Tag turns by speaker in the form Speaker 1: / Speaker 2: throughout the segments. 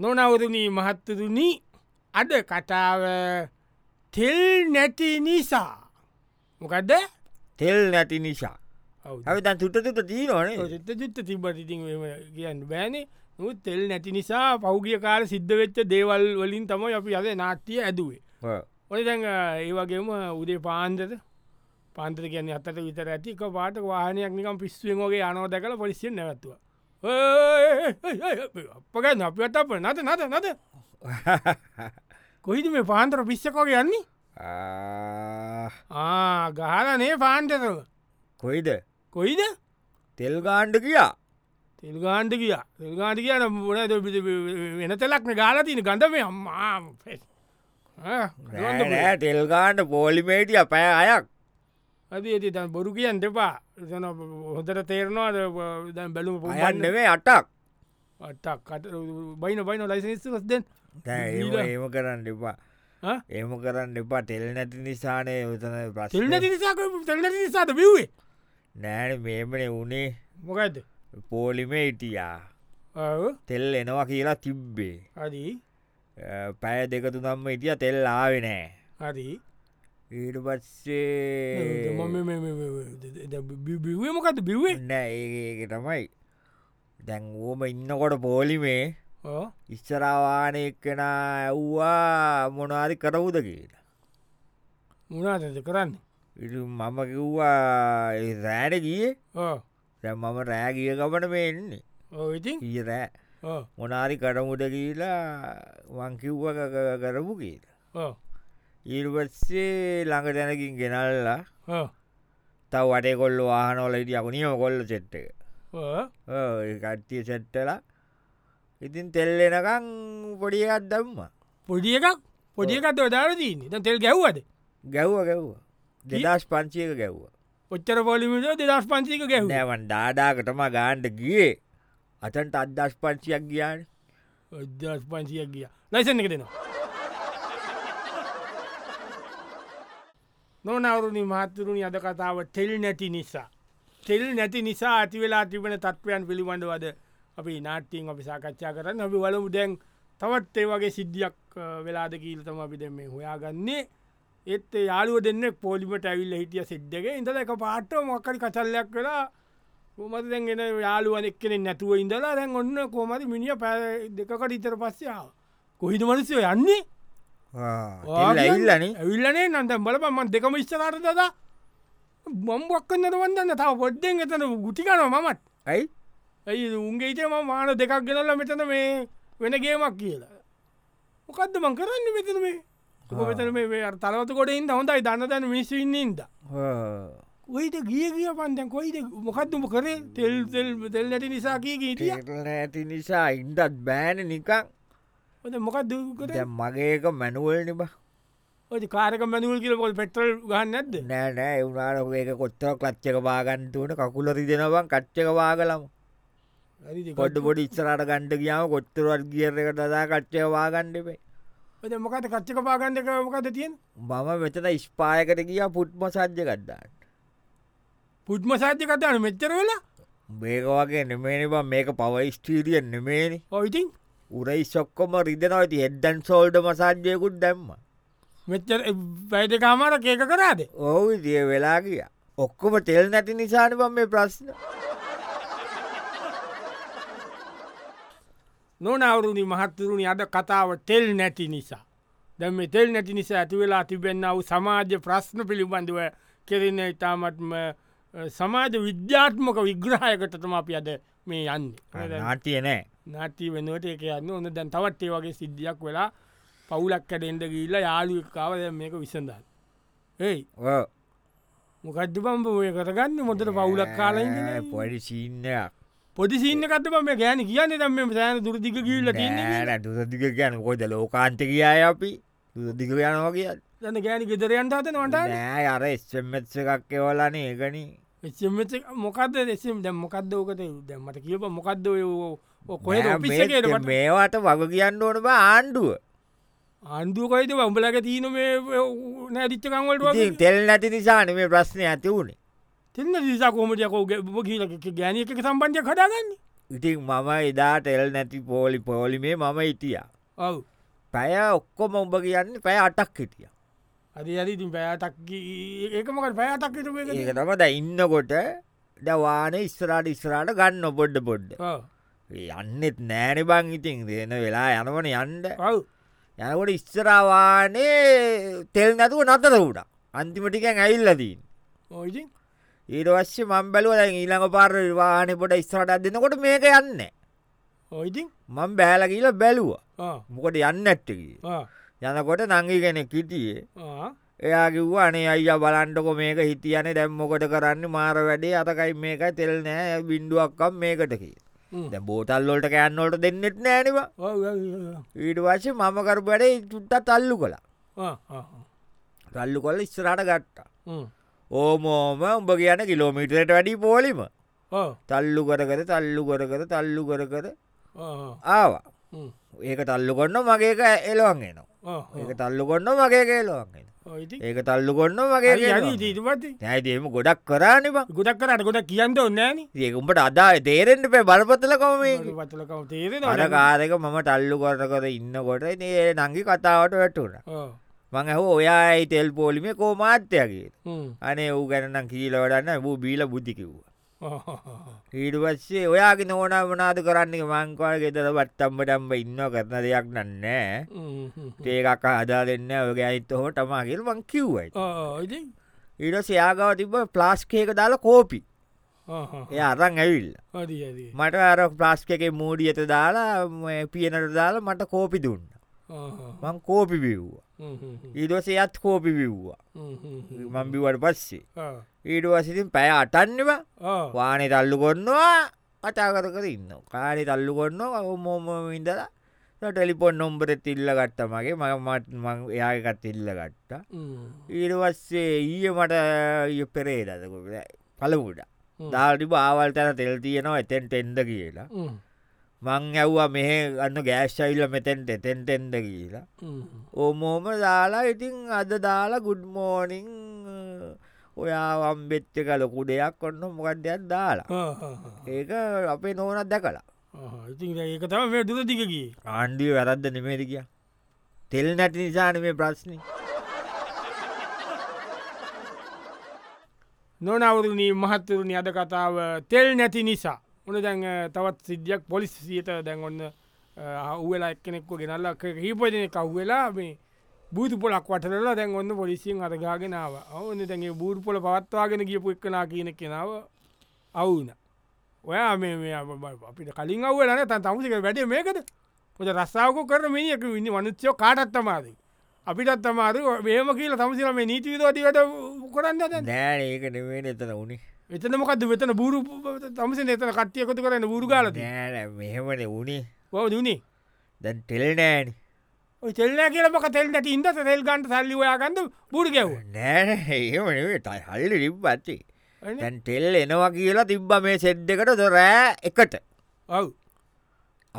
Speaker 1: නොනවරුණී මහත්තුරුණි අද කටාව තෙල් නැති නිසා මොකදද
Speaker 2: තෙල් නැති නිසා ඇවිතන් සුටතුත තිීනවන
Speaker 1: චුත්ත චුත්ත තිබටිති කියන්න බෑනේ නොත් තෙල් නැති නිසා පෞගිය කාර සිද්ධ වෙච්ච දේවල් වලින් තමයි අපි අද නාට්‍යය ඇදුවේ ඔය දැන් ඒ වගේම උදේ පාන්දර පන්තර කියන්න අතට විතර ඇති එක පාට වාහනයක් නිකම් පිස්සුවෙන්ගේ අනෝ දැකල පොලිසිෙන් නැවත්තුව අපග අපට අප නත නත නත කොහිද මේ පාන්තර පිස්සකෝග යන්නේ ආ ගහලනේ පාන්තර
Speaker 2: කොයිද
Speaker 1: කොයිද
Speaker 2: තෙල් ගාණ්ඩ කියා
Speaker 1: තෙල්ගාන්ට කිය තෙල්ගාන්ට කියන මොන වෙන තෙලක්න ගාලතින ගඳම අම්මාම
Speaker 2: නෑ තෙල් ගාණ්ඩ පෝලිමේටිය පෑ අයක්
Speaker 1: ඇති ඇති තන් බොරු කියන් දෙපා එතන හොඳට තේරනවාද දැන් බැලුම පොහන්න
Speaker 2: අයන්නවේ අටක්
Speaker 1: අටක් කට බයින බයින ලයිසනිස්සස් දෙන්
Speaker 2: ඒම
Speaker 1: දීලා.
Speaker 2: ඒම කරන්න එපා
Speaker 1: ආ?
Speaker 2: ඒම කරන්න එපා ටෙල් නැති නිසානය තන
Speaker 1: තෙල්
Speaker 2: ප්‍රශ්න
Speaker 1: නැති නිසා තෙල් නැති නිසාද බිව්වේ
Speaker 2: නෑන මේමනේ වනේ
Speaker 1: මොකයිද
Speaker 2: පෝලිමේ ඉටියා තෙල් එනවා කියලා තිබ්බේ
Speaker 1: අරි
Speaker 2: අ, පැය දෙකතු නම්ම ඉටිය තෙල් ආවෙ නෑ
Speaker 1: හරි
Speaker 2: ඊට පස්සේ
Speaker 1: බිවේ මොකද බිවේ
Speaker 2: නෑඒක තමයි දැන් ඕම ඉන්නකොට පෝලිමේ ඉස්සරවානය කෙන ඇව්වා මොනාරි කරවුද කියලා
Speaker 1: මුණාතද කරන්න
Speaker 2: ඉ මම කිව්වා "ඒ රෑට ගිය දැම් මම රෑ ගිය ගමන මේ එන්නේ
Speaker 1: ඉතින්
Speaker 2: කිය රෑ මොනාරි කරමුද කියලා වංකිව්ව කරපු කියලා ඉල්වස්සේ ළඟ දැනකින් ගෙනල්ලා තව වටේ කොල්ල වාහනෝල ඉට අකුණියම කොල්ල සෙට්ට එක ඔව්, ඒ කට්ටිය සෙට්ටල ඉතින් තෙල්ලෙනකං පොඩියත් දම්ම
Speaker 1: පොඩිය එකක් පොඩියකත් දාරදීන්නේ දැන් තෙල් ගැව්වද
Speaker 2: ගැව්ව ගැව්ව දෙදස් පංචියක ගැව්ව
Speaker 1: ඔච්චර පොලිමිට දෙදස් පන්සික ගැව්
Speaker 2: නෑවන් ඩාඩාකටම ගාන්ඩ ගියේ අතන්ට අදදස් පංචියක් ගියාන්
Speaker 1: දස් පන්සියක් ගිය ලයිසන එක දෙනවා නොනවරුණි මහත්තුරුණි අද කතාව තෙල් නැති නිසා තෙල් නැති නිසා ඇතිවෙලා තිබෙන තත්ත්වයන් පිළිබඳවද අපි නාට්‍යයෙන් අපි සාකච්ඡා කරන්න අපි වලමු දැන් තවත් ඒ වගේ සිද්ධියක් අ, වෙලාද කීල්තම අපි දැ මේ හොයාගන්නේ ඒත් ඒ යාළුව දෙන්න පොලිමට ඇවිල්ල හිටිය සිද්ධගේ ඉඳල එක පාට්ට මොක්කරි කචල්ලයක් වෙලා කොමද දැන්ගෙන යාළුවනෙක් කෙනෙ නැතුව ඉඳලා දැන් ඔන්න කෝමති මිනිිය පැ දෙකට ඉතර පස්සයාව කොහිද මනසය යන්නේ
Speaker 2: ඇල්ලන
Speaker 1: ඇවිල්ලනේ නන්ත බලපම්මන් දෙකම ඉස්සරට දද බම්බක්ක නරවන්දන්න තව පොඩ්ඩෙන් එතන ගුටිකන මමත්
Speaker 2: ඇයි
Speaker 1: ඇයි උන්ගේ ඉතම මාන දෙකක් ගෙනල්ල මෙතන මේ වෙනගේමක් කියලා මොකක්ද මං කරන්න මෙතන මේ මෙතන මේ අර තරවත කොඩින් හොඳයි දන්න දැන මිසින්නේද කොයිට ගිය කිය පන්තැන් කොයිද මොකක්තුම කරේ තෙල් තෙල් තෙල් නැති නිසා කිය කීටිය
Speaker 2: ටෙල්ල ඇති නිසා ඉන්දත් බෑන නිකං
Speaker 1: ඔද මොකක් දකර
Speaker 2: දැන් මගේක මැනුවල් නිබ
Speaker 1: ඔති කාරක මැනුවල් කියලකොල් පෙටල් ගන්න නැද්ද
Speaker 2: නෑ නෑ එවුනාට ඒක කොත්තව කච්චක බාගන්තුවන කකුලරි දෙෙනවන් කච්චක වාගලම කොඩ්ඩ පොඩි ඉස්සරට ගණ්ඩ කියාව කොත්තරුවත් ගියර එක දදා කච්චය වාගණ්ඩපේ
Speaker 1: ඔද මොකත කච්චක පාගන්ඩක මොකද තියෙන්
Speaker 2: මම මෙතන ඉස්්පායකට කිය පුට්ම සජ්්‍ය කඩ්ඩාන්න
Speaker 1: පුද්ම සාධ්‍ය කතාන මෙච්චර වෙලා
Speaker 2: මේක වගේ නෙමේනි බං, මේක පවයි ස්ටීරියෙන් නෙමේනි
Speaker 1: ඔයිතින්
Speaker 2: උරයි සොක්කොම රිදනවති එද්දන් සෝල්ඩ මසාජ්‍යයකුත් දැම්ම
Speaker 1: මෙච්චර වැයිටකාමාර කේක කරාද
Speaker 2: ඔවු දිය වෙලා කිය ඔක්කොම තෙල් නැති නිසාන බම් මේ ප්‍රශ්න
Speaker 1: නොනවරුණි මහත්තුරුණි අද කතාව තෙල් නැති නිසා. දැම තෙල් නැති නිසා ඇතිවෙලා තිබෙන්න්නව සමාජ ප්‍රශ්න පිළිබඳව කෙරෙන ඉතාමත්ම අ, සමාජ විද්‍යාත්මක විග්‍රහයකටතම අපි අද මේ යන්නේ.
Speaker 2: නාටිය නෑ
Speaker 1: නාටී වෙනුවට එක යන්න ඔන්න දැන් තවත් ඒ වගේ සිද්ධියක් වෙලා පවුලක් කැඩෙන්ඩ ගිල්ල යාලුකාව මේක විසඳන්න. ඒයි
Speaker 2: ඔව්.
Speaker 1: මොකද්ද බම්බ ඔය කරගන්න මොතට පවුලක්
Speaker 2: ඈ,
Speaker 1: කාලයි
Speaker 2: පොඩි සිීන්නයක්
Speaker 1: පොඩිසින්න කත බම ගෑන කියන්න දම් මෙම සෑන දුරදික ගිල්ල
Speaker 2: නෑන දුසදික කියන කොයිද ලෝකාන්ත කියාය අපි දුසදික යනවා කිය
Speaker 1: දන්න ගෑන ගෙදරයන්ට හතන වට
Speaker 2: නෑ අර ස්චමත්ස එකක් එවලන ඒකන
Speaker 1: HM මොකක්ද දෙසම් දැම් මොකක්ද ඕකත දැම්මට කියප මොකක්ද කොහ පිසකට
Speaker 2: මේවාට වග කියන්න ඕන බා ආණ්ඩුව
Speaker 1: අන්දුකයිද බම්බලක තියන මේ නෑ
Speaker 2: ඉතින්
Speaker 1: දිච්චකංවලට
Speaker 2: තෙල් නැති නිසාන මේ ප්‍රශ්නය ඇති වුණේ
Speaker 1: තින්න දිසා කෝමටයකෝ ගැ කියලක ගෑනක සම්බන්ධය කඩාගන්නේ
Speaker 2: ඉතින් මම එදා ටෙල් නැති පෝලි පෝලිමේ මම ඉතිය
Speaker 1: ඔව්
Speaker 2: පැය ඔක්කොම උඹ කියන්න පැය අටක් හිටිය
Speaker 1: අද අද ඉතින් පෑතක් ඒකමකට පෑතක්
Speaker 2: ඒක තම ද ඉන්නකොට දවාන ඉස්රාට ඉස්රාට ගන්න පොඩ්ඩ පොඩ්ඩ යන්නෙත් නෑන බං ඉතින් දෙන වෙලා යනවන යන්ඩ
Speaker 1: ඔව්
Speaker 2: යනකොට ඉස්සරවානේ තෙල් නැතුව නතර වුට අන්තිමටිකන් ඇල්ලදීන්
Speaker 1: ඕයිසින්
Speaker 2: ඊට වශ්‍ය මං බැලුව දැන් ඊළඟ පාර වානෙ පොට ඉස්රට දෙන්නකොට මේක යන්න
Speaker 1: ඔයිතින්
Speaker 2: මං බෑලකිීල බැලුව මොකට යන්න ඇත්තකි යනකොට නංගි කෙනෙ කිටියේ එයා කිව්ව අනේ අයිය බලන්ටකො මේක හිතියන දැම්මොකට කරන්න මාර වැඩේ අතකයි මේක තෙල් නෑ බින්ඩුවක්කම් මේකටකි දැ බෝතල්ලොට කෑන්නොට දෙන්නෙත් නෑනවා ඊට වශය මම කරපඩේ චුට්ට තල්ලු කළ තල්ලු කොල ඉස්සරට ගට්ට ඕමෝම උඹ කියන කිලෝමිටරට වැඩි පෝලිම තල්ලු කරකර තල්ලු කරකර තල්ලු කර කර ආවා ඒක තල්ලු කොන්න මගේක එලොන්ගෙන ඒක තල්ලු කොන්න මගේ කේලොන්ගෙන
Speaker 1: ඔයිති
Speaker 2: ඒක තල්ලු කොන්න මගේ
Speaker 1: ීටපති
Speaker 2: නැතිම ගොඩක් කරන්නවා
Speaker 1: ගොඩක් කරට ගොඩ කියන්න ඔන්නෑන
Speaker 2: ඒකුඹට අදා තේරෙන්ට පැ බලපතල කොමේ
Speaker 1: පතලකව තේරෙන
Speaker 2: අර කාරක මම තල්ලු කර කර ඉන්නකොට ඒ නංගි කතාවට වැටුන මං ඇහෝ ඔයා ඇයි තෙල් පෝලිමේ කෝමාත්‍යයගේ අනේ ඌ ගැනනම් කීලවටන්න බූ බීල බුද්ධිකිව්වා ඊඩුවස්සේ ඔයාගේ නෝන මනාද කරන්නේ මංකවල් ගෙතර වත්තම්බටම්බ ඉන්න කරන දෙයක් නන්නෑ ඒකක් හදා දෙන්න ඔය ඇයිත හෝ තමාගේල් මං කිව්වයි
Speaker 1: ඉති
Speaker 2: ඊට සයාගව තිබ ප්ලාස්කේක දාලා කෝපි එය අරං ඇවිල්ල
Speaker 1: හරි
Speaker 2: මට අර ප්ලාස්ක එක මූඩිය ඇත දාලා මේ පියනට දාලා මට කෝපි දුන්න මං කෝපි බිව්වා ඊදොස යත් කෝපි බිව්වා මම්බිවට පස්සේ ඊඩු වසිතින් පැය අටන්නවා වානේ තල්ලු කොන්නවා අතාකරකර ඉන්න කාරි තල්ලු කොන්න මෝම ඉඳලා ටෙලිපොන් නොම්බර තිල්ල ගත්ත මගේ මගමත් එයාගත් ඉල්ල ගට්ට ඊරවස්සේ ඊය මට ඊය පෙරේ දදකුට පළපුට දාටි බාවල් තැන තෙල් තියෙනවා එතැන් ටෙන්ඩ කියලා මං ඇව්වා මෙහ ගන්න ගෑශ්ශයිල්ල මෙතැන්ට එතැන් ටෙන්ඩ කියලා ඕමෝම දාලා ඉතින් අද දාලා ගුඩ්මෝනිං ඔයා වම්බෙච්ච එක ලොකු දෙයක් ඔන්න මොකක් දෙයක් දාලා ඒක අපේ නෝනත් දැකලා
Speaker 1: ඉති ඒක තම මේ දුර දිකකි
Speaker 2: ආණ්ඩිය වැරද්ද නෙමේද කිය තෙල් නැති නිසාන මේ ප්‍රශ්නි
Speaker 1: නොනවරුණී මහත්තරුණි අද කතාව තෙල් නැති නිසා උන දැන් අ, තවත් සිද්ධියක් පොලිසියට දැන් ඔන්න අවුවෙලා එක්කෙනෙක්ව ගෙනල්ල කීපදන කව්වෙලා මේ බූතු පොලක් වටරලා දැන් ඔන්න පොලිසියෙන් අරගාගෙනාව ඔවුන්න දැන්ගේ බූර් පොල පවත්වාගෙන ගියපු එක්කනා කියන කෙනාව අවුන ඔයා මේ මේ අප- බ- අපිට කලින් අවුවලන තන් තමුසික වැඩ මේකද ොද රස්සාාවක කරන මේක ඉන්න මනුච්චයෝ කාටත්තමාද අපිටත් තමාද මේම කියලා තමුසිල මේ නීතිවිදෝතිකට කරන්න දැන්
Speaker 2: නෑ ඒක නෙමේ එතන උනේ
Speaker 1: එතන මොකද වෙතන බූරු තමස එතන කට්ියකොතු කරන්න බූරු කාලද
Speaker 2: නෑ මෙහෙමන උනේ
Speaker 1: ඔව දුණේ
Speaker 2: දැන් ටෙල් නෑන
Speaker 1: තෙල්න කියලක තෙල්ට ඉන්ද තෙල් ගන්ට සල්ලි ඔයාගන්ද බූරු ගැව්
Speaker 2: නෑ එහෙමනේ තයි හල්ලි ලිබ්බත්තේ දැන් ටෙල් එනවා කියලා තිබ්බ මේ සෙද් එකට දොරෑ එකට
Speaker 1: ඔව්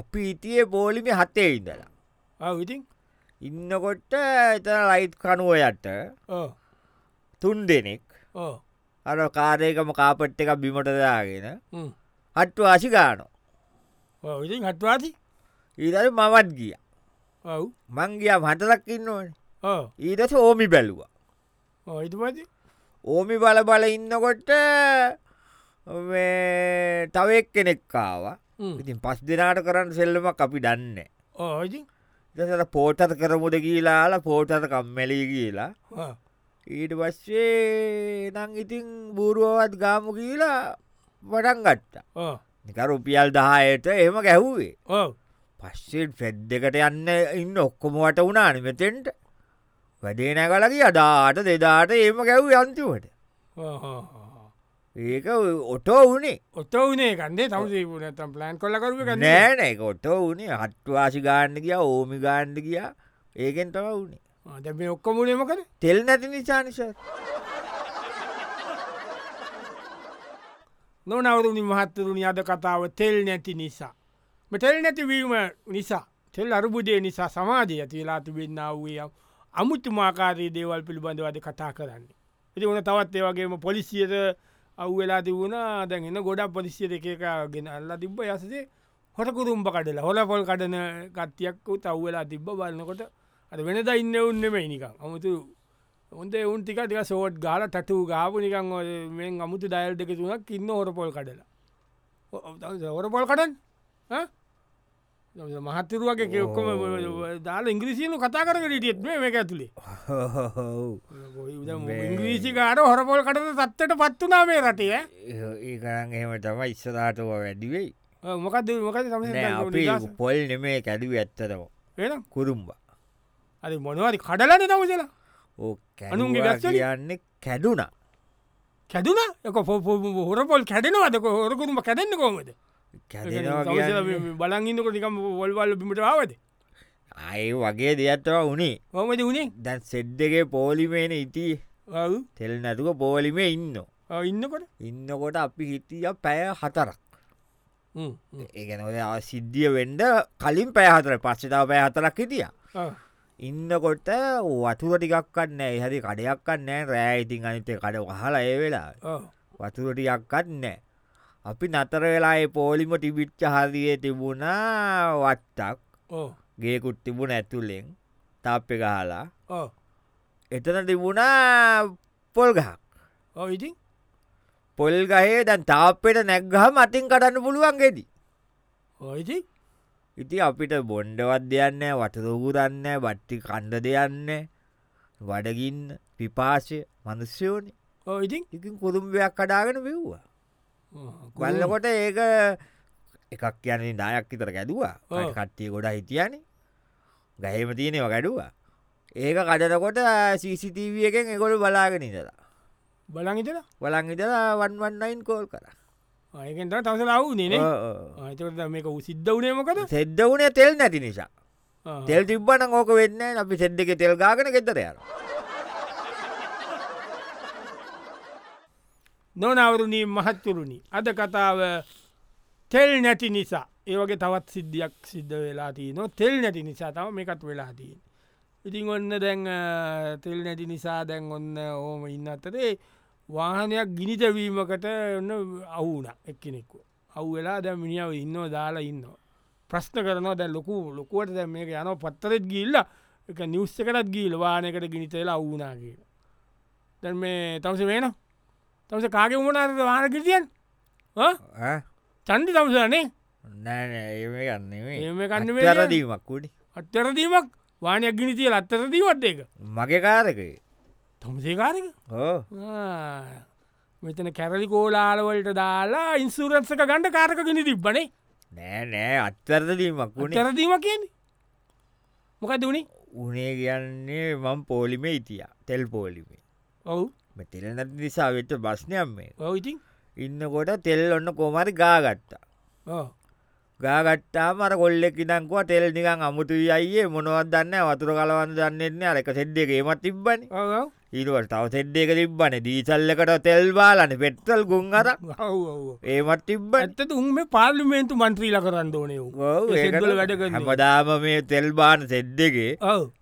Speaker 2: අපි ඉතියේ පෝලිමි හතේ ඉඳලා
Speaker 1: ඔව ඉතින්
Speaker 2: ඉන්නකොට එතන ලයිට් කනුවයට
Speaker 1: ඕ
Speaker 2: තුන් දෙනෙක්
Speaker 1: ඕ
Speaker 2: අර කාරයකම කාපට් එකක් බිමට දාගෙන හට්ටු ආසිකානෝ
Speaker 1: ඔව ඉතින් හත්වාති
Speaker 2: ඊදර මවත් ගිය
Speaker 1: ඔව්
Speaker 2: මංගිය මටලක් ඉන්නවන
Speaker 1: ඕ
Speaker 2: ඊදස ඕමි බැලුව
Speaker 1: ඕ ඉතුමති
Speaker 2: ඕමි බල බල ඉන්නකොට මේ තවෙක් කෙනෙක්කාව ඉතින් පස් දෙනාට කරන්න සෙල්ලමක් අපි දන්න
Speaker 1: ඕ ඉතින්
Speaker 2: දසට පෝටත කරමුද කියලාලා පෝටත කම්මැලී කියලා
Speaker 1: ආ.
Speaker 2: ඊට පස්සේ නං ඉතින් බූරුවවත් ගාමු කියලා වඩන් ගට්ට
Speaker 1: ඕ
Speaker 2: නිකර උපියල් දහයට එම ගැහ්වේ
Speaker 1: ඕ
Speaker 2: පස්සෙන් ෆෙද් දෙකට යන්න ඉන්න ඔක්කොම වට වුණාන මෙතෙන්ට වැඩේ නැකලකි අදාට දෙදාට ඒම ගැව් යන්තිවට
Speaker 1: ඕ, ඕ, ඕ.
Speaker 2: ඒක ඔටෝ වනේ
Speaker 1: ඔත්තෝ වනේ කන්දේ තවසේ නැතම් ප්ලෑන් කොල්ලකරුව ගන්න
Speaker 2: නෑන එක ඔටෝ වනේ හට්වාසි ගාන්න කියා ඕමි ගාණ්ඩ කියා ඒකෙන් තම වනේ
Speaker 1: දැබ ඔක්කොමුණේ මොකද
Speaker 2: තෙල් නැති නිසානිස
Speaker 1: නොනවරුණි මහත්තරුණි අද කතාව තෙල් නැති නිසා. මෙතෙල් නැතිවීම නිසා තෙල් අරුබුදේ නිසා සමාජය ඇතිලා තිබෙන්න්න වූය අමුතුමාකාරී දේවල් පිළිබඳවද කතා කරන්න. ඉති උන තවත් ඒවගේම පොලිසියට අව්වෙලා තිබුණා දැන් එන්න ගොඩක් පදිසිය එකක ගෙන අල්ලා තිබ්බ යසසේ හොටකුරුම්ප කඩලා හොල පොල් කඩන කට්තියක් තව්වෙලා තිබ්බ බලන්නකොට අද වෙනද ඉන්න උන්නෙම නිකම් අමුතු ඔොන්ද උන් ටික ටික සෝට් ගාල ටටූ ගාපු නිකං මේ අමුතු ඩයිල් දෙක තුනක් ඉන්න හොරපොල් කඩලා හොරපොල් කඩන් මහත්තරුවගේ කෙක්කොම දාල ඉංග්‍රීසියනු කතා කර ටියත් මේ එක ඇතුළේ ඉංග්‍රීසිකාර හොරපොල් කට තත්තට පත්වනා මේ රටය
Speaker 2: ඒ කරන් එහෙම තම ඉස්සදාටව වැඩිවෙයි
Speaker 1: මොකද මොකද
Speaker 2: අපි පොල් නෙමේ කැඩුව ඇත්තටම
Speaker 1: වෙන
Speaker 2: කුරුම්බ
Speaker 1: අද මොනවාරි කඩලන දවසලා
Speaker 2: ඕ
Speaker 1: අනුන්ගේ
Speaker 2: කැනුගේ
Speaker 1: ගස්වලින්?
Speaker 2: ගස්ලියන්න කැඩුන
Speaker 1: කැදුන එක හොරපොල් කැඩෙනවද හොරකුරුම කැදන්න කොමද
Speaker 2: කැඩෙනවා
Speaker 1: බලගන්නක නිකම් වොල්වල්ල බිමට ආවද
Speaker 2: අය වගේ දෙයක්ත්තව වුණේ
Speaker 1: හොමද වුණේ
Speaker 2: දැන් සෙද්දගේ පෝලිමේන ඉති
Speaker 1: ඔව්.
Speaker 2: තෙල් නැතුක පෝලිමේ ඉන්න
Speaker 1: ආ, ඉන්නකොට
Speaker 2: ඉන්නකොට අපි හිටිය පැය හතරක්
Speaker 1: හ්ම්, හ්ම්.
Speaker 2: ඒගැනොද සිද්ධිය වෙන්ඩ කලින් පැහතර පස්සෙතාව පැය හතරක් හිටිය
Speaker 1: ආ.
Speaker 2: ඉන්නකොට වතුර ටිකක්කත් නෑ හරි කඩයක්කත් නෑ රෑ ඉතින් අනිතේ කඩ වහලා ඒ වෙලා
Speaker 1: ආ.
Speaker 2: වතුරටියක්කත් නෑ අපි නතර වෙලායි පෝලිම ටිබිච්ච හරියේ තිබුණා වත්තක්
Speaker 1: ඕ,
Speaker 2: ගේකුත් තිබුණ ඇතුලෙන් තාප්පෙ ගහලා
Speaker 1: ඕ.
Speaker 2: එතන තිබුණා පොල්ගහක්
Speaker 1: ඔව් ඉතින්
Speaker 2: පොල්ගහේ දැන් තාප්පෙට නැක්ගහ මතින් කටන්න පුළුවන්ගෙදී
Speaker 1: ඔයිති
Speaker 2: ඉති අපිට බොන්්ඩවත් දෙයන්න වටදෝකු දන්න බට්ටි කණ්ඩ දෙයන්න වඩගින්න පිපාශය මනුස්්‍යෝනි
Speaker 1: ඔයිතින්
Speaker 2: ඉකින් කුරුම්බයක් කඩාගෙන බෙව්වා ගල්ලකොට ඒක එකක් කියන්නේ දායක් විතර ගැදවා
Speaker 1: ඔව්.
Speaker 2: කට්ටිය ගොඩ හිටියනේ ගැහෙම තියනෙව ගැඩුවා ඒක කඩනකොට සීසිටීව එකෙන් එකොළු බලාගෙන ඉදලා
Speaker 1: බලගතලා
Speaker 2: වලන් ඉදලා වන්වන්නයින් කෝල් කර
Speaker 1: අයකෙන් තවස ලව්නේ නේ ආතකට මේක උසිද්ධ වනේ මොකද
Speaker 2: සෙද්ද වනේ තෙල් නැති නිසා
Speaker 1: ආ.
Speaker 2: තෙල් තිබ්බන ඕක වෙන්න අපි සෙද්ද එක තෙල් ගාගෙන ගෙතර යන
Speaker 1: නොනවරුණී මහත්තුරුණි අද කතාව තෙල් නැති නිසා ඒවගේ තවත් සිද්ධියක් සිද්ධ වෙලා තියන තෙල් නැති නිසා තම මේකත් වෙලා තියෙන් ඉතින් ඔන්න දැන් අ, තෙල් නැති නිසා දැන් ඔන්න ඕම ඉන්න අතරේ වාහනයක් ගිනිතවීමකට ඔන්න අවුන එක්කෙනෙක්කු අව් වෙලා දැ මිනිියාව ඉන්න දාලා ඉන්න ප්‍රශ්න කරනවා දැ ලොකු ලොකුවට දැ මේක යන පත්තරෙත් ගිල්ල එක නිවස්ස කරත් ගීල් වානකට ගිනිතලා අවුනා කියලා දැන් මේ තවස වෙනවා තමස කාගේ උමනාද වාන කිරියන් චන්ඩි තමසනේ
Speaker 2: නෑ
Speaker 1: එහෙම
Speaker 2: ඒම
Speaker 1: එකක්
Speaker 2: ගන්න
Speaker 1: නෙමෙයි.
Speaker 2: රදීමක්කුඩි
Speaker 1: අත්තරදීමක් වානයක් ගිනිතිය අත්තරදීවත් ඒක
Speaker 2: මගේ කාරකයි
Speaker 1: තමසේකාරක
Speaker 2: හෝ
Speaker 1: මෙතන කැරලි කෝලාලවලට දාලා ඉන්සුරන්සක ගණඩ කාරක ගෙන තිබ්බනේ
Speaker 2: නෑ නෑ අත්තරදීමක්ුණේ
Speaker 1: තරදීම කියන්නේ මොක දුණේ
Speaker 2: උනේ කියන්නේ මං පෝලිමේ ඉතිය තෙල් පෝලිමේ
Speaker 1: ඔවු
Speaker 2: මෙතෙල් නැති නිසා වෙච්ච බස්්නයම් මේ
Speaker 1: ඔව ඉතින්
Speaker 2: ඉන්නකොට තෙල් ඔන්න කොමරි ගාගත්තා ගාගට්ටා මර කොල්ලෙක් ඉදංකුව තෙල් නිකං අමුතු අයියේ මොනවත් දන්න වතුර කලවන්න දන්නෙන්නේ අරක සෙද්දේගේමත් තිබ්බන ඊරුවට තව සෙද්දේක තිබ්බන දීසල්ලකට තෙල් බාලන පෙට්ටල් ගුන් අර ඒමත් තිබ්බ
Speaker 1: ඇත්තට උන් මේ පාර්ලිමේන්තු මන්ත්‍රීල කරන්න ඕනේ ඔව් සෙද්වල වැඩ කරන්නේ.
Speaker 2: හමදාම මේ තෙල් බාන සෙද්දගේ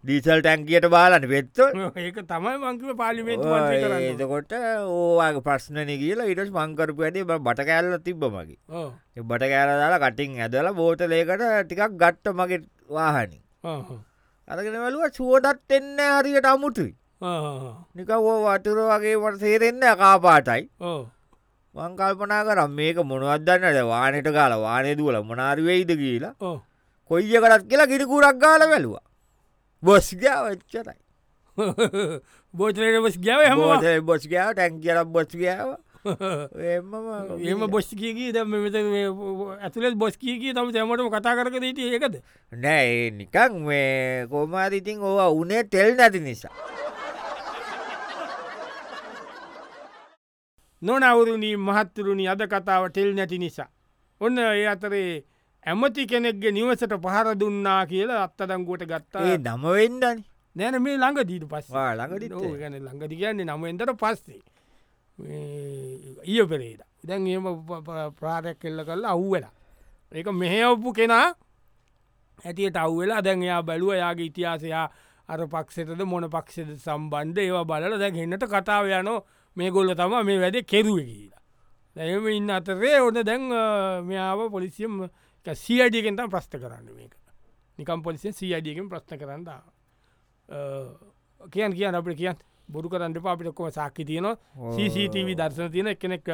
Speaker 2: දීසල් ටැන්කියට බාලන පෙත්තල්
Speaker 1: ඒක තමයි මංකිව පාලිමේන්තු මන්ත්‍රී කරන්න
Speaker 2: එතකොට ඕවාගේ ප්‍රශ්නන කියලා ඉටස් මංකරපු ඇඩේ බට කෑල්ල තිබ්බ මගේ
Speaker 1: ඕ.
Speaker 2: ඒ බට කෑරදාලා කටින් ඇදල බෝටලේකට ටිකක් ගට්ට මගේ වාහනින්
Speaker 1: ආ, ආ.
Speaker 2: අරගෙන වැලුව සුවටත් එන්න හරියට අමුතුයි
Speaker 1: ආ, ආ.
Speaker 2: නික ඕ වතුර වගේ වට සේරෙන්න්න අකාපාටයි
Speaker 1: ඕ.
Speaker 2: මංකල්පනා කරම් මේක මොනවදන්නට වානට ගාල වානය දුවල මනාර්වෙයිද කියලා
Speaker 1: ඕ.
Speaker 2: කොයිය කරත් කියලා කිරිකුරක් ගාල වැලුවා බොස්ගාව එච්චරයි
Speaker 1: බෝචරටස් ගැව හම
Speaker 2: බොස්ගාව ටැන්කිර බොස්ගාව එම
Speaker 1: එම බොස්්කියකී ද මෙත ඇතුලෙත් බොස්කීකී තම සැමටම කතා කරක දීට ඒකද
Speaker 2: නෑ ඒ නිකං මේ කෝමාරිඉතින් ඕවා උනේ තෙල් නැති නිසා
Speaker 1: නොනවුරුණී මහත්තුරුණි අද කතාව ටෙල් නැති නිසා. ඔන්න ඒ අතරේ ඇමති කෙනෙක්ගේ නිවසට පහර දුන්නා කියලා අත්තදංගුවට
Speaker 2: ඒ
Speaker 1: ගත්තා
Speaker 2: නමවෙන්ඩන
Speaker 1: නෑන මේ ළඟ දීට පස්
Speaker 2: ආ, ළඟදිත් ඒ.
Speaker 1: ගැන ළඟදි කියන්නේ නමෙන්දට පස්සේ මේ ඊය පෙරේද දැන් එම ප්‍රාරයක් කෙල්ල කල්ලා අව්වෙලා ඒක මෙහෙඔප්පු කෙනා ඇතියට අව්වෙලා දැන් එයා බැලුව යාගේ ඉතිහාසයා අර පක්ෂෙතද මොන පක්ෂෙද සම්බන්ධ ඒවා බලල දැන් එන්නට කතාව යනෝ මේ ගොල්ල තම මේ වැඩ කෙරුව කියලා එම ඉන්න අතරේ ඕන දැන් මොව පොලිසියම් සියඩියකෙන්තම් ප්‍රස්ථ කරන්න මේක නිකම් පොලිසිය සියඩියකින් ප්‍රශ්න කරන්න කියන් කියන්න අපට කියන් බොරු කරන්න පාපිටක්කොම සාක්කි තියනවා සීටව දර්ශන තියෙන එකනෙක්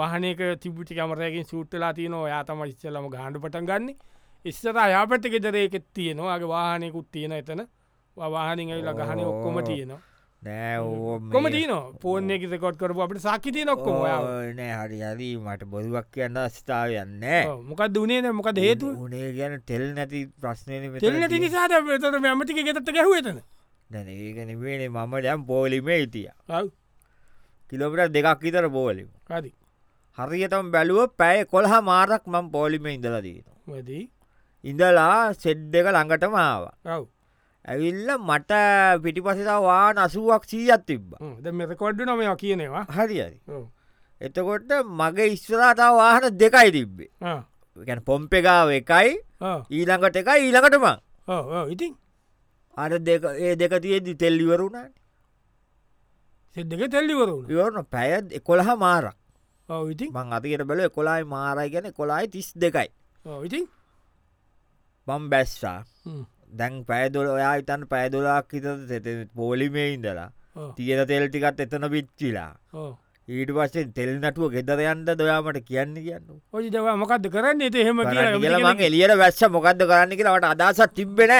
Speaker 1: වාහනක තිබුටි කමරයකින් සුට්ටලා තියන ඔයා තම ස්සලම ගාණඩ පටන් ගන්න ඉස්සර යාපට ගෙදරයකෙත් තියෙනවාගේ වාහනයකුත් තියෙන එතන වාහනින් ඇල්ලා ගහන ඔක්කොම තියෙනවා කොම තියන පෝර්ණය කිසකොට කරපු අපට සාකිතිය නොක්කොම
Speaker 2: නෑ හරි හරි මට බොරුවක් කියන්න ස්ථාවයන්න
Speaker 1: මොකක් දුනේ නෑ මොකද හේතු
Speaker 2: උනේ ගැන තෙල් නැති ප්‍රශ්නය
Speaker 1: තෙල් නැති නිසාට තර මැමටි ගෙතට ගැහුවතන
Speaker 2: දැන ඒකනවේ මම දැම් පෝලිමේ හිටිය කිලොපට දෙකක් විතර පෝලිම
Speaker 1: හරි
Speaker 2: හරියතම් බැලුව පැය කොළහා මාරක් මං පෝලිම ඉඳලදීනවා
Speaker 1: වැදී
Speaker 2: ඉඳලා සෙඩ් දෙක ළඟට මාවා
Speaker 1: රව්
Speaker 2: ඇවිල්ල මට පිටිපසවා නසුවක් සීයත් තිබ්බ
Speaker 1: මෙතකොඩ්ඩ නොමය කියනවා
Speaker 2: හරිරි එතකොට මගේ ඉස්වරතාව වාහන දෙකයි තිබ්බේ ගැන පොම්පෙගාව එකයි ඊළඟට එක ඊළඟටම
Speaker 1: ඉතින්
Speaker 2: අර ඒ දෙක තියදි තෙල්ලිවරුණට
Speaker 1: සෙද්දක තෙල්ලිවරුණ
Speaker 2: ඉවරන පැයත් එකොළහ මාරක්
Speaker 1: ඉති
Speaker 2: මං අතිකට බැල කොලායි මාරයි ගැන කොලායි තිස් දෙකයි
Speaker 1: ඉතින්
Speaker 2: බම් බැස්සා දැන් පැදොල ඔයා ඉතන් පැදොලක් හිත පෝලිමේ ඉඳලා තියෙන තෙල්ටිකත් එතන පිච්චිලා ඊට පස්සේ තෙල් නටුව ගෙදරයන්ට දොයාමට කියන්න කියන්න
Speaker 1: ඔයි දවා මොකක්ද කරන්න එත හෙම
Speaker 2: කියලමගේ එලියට වැස්ස මොකක්ද කරන්න කියලාට අදසත් තිබ්බෙන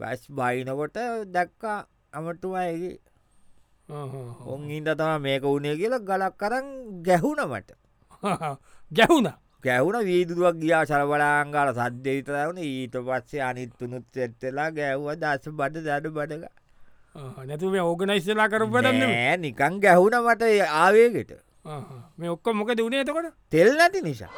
Speaker 2: වැස් බයිනකොට දැක්කා අමටුමයකි ඔන් ඉන්ට තම මේක වුණේ කියලා ගලක් කරන්න ගැහුණ මට
Speaker 1: ගැහුණා
Speaker 2: ගැවුණ වීදුරුවක් ගියා සරබලාංගාල සද්‍ය විතරවුණ ඊට පස්සේ අනිත්තුනුත් එත්තලා ගැව්ව දස බඩ දඩ බඩග
Speaker 1: නැතුව ඕගනයිස්සලා කරපදන්න
Speaker 2: නෑ නිකං ගැහුණ මට ආවේගෙට
Speaker 1: මේ ඔක්කො මොක දුණේ එතකොට
Speaker 2: තෙල් නැති නිසා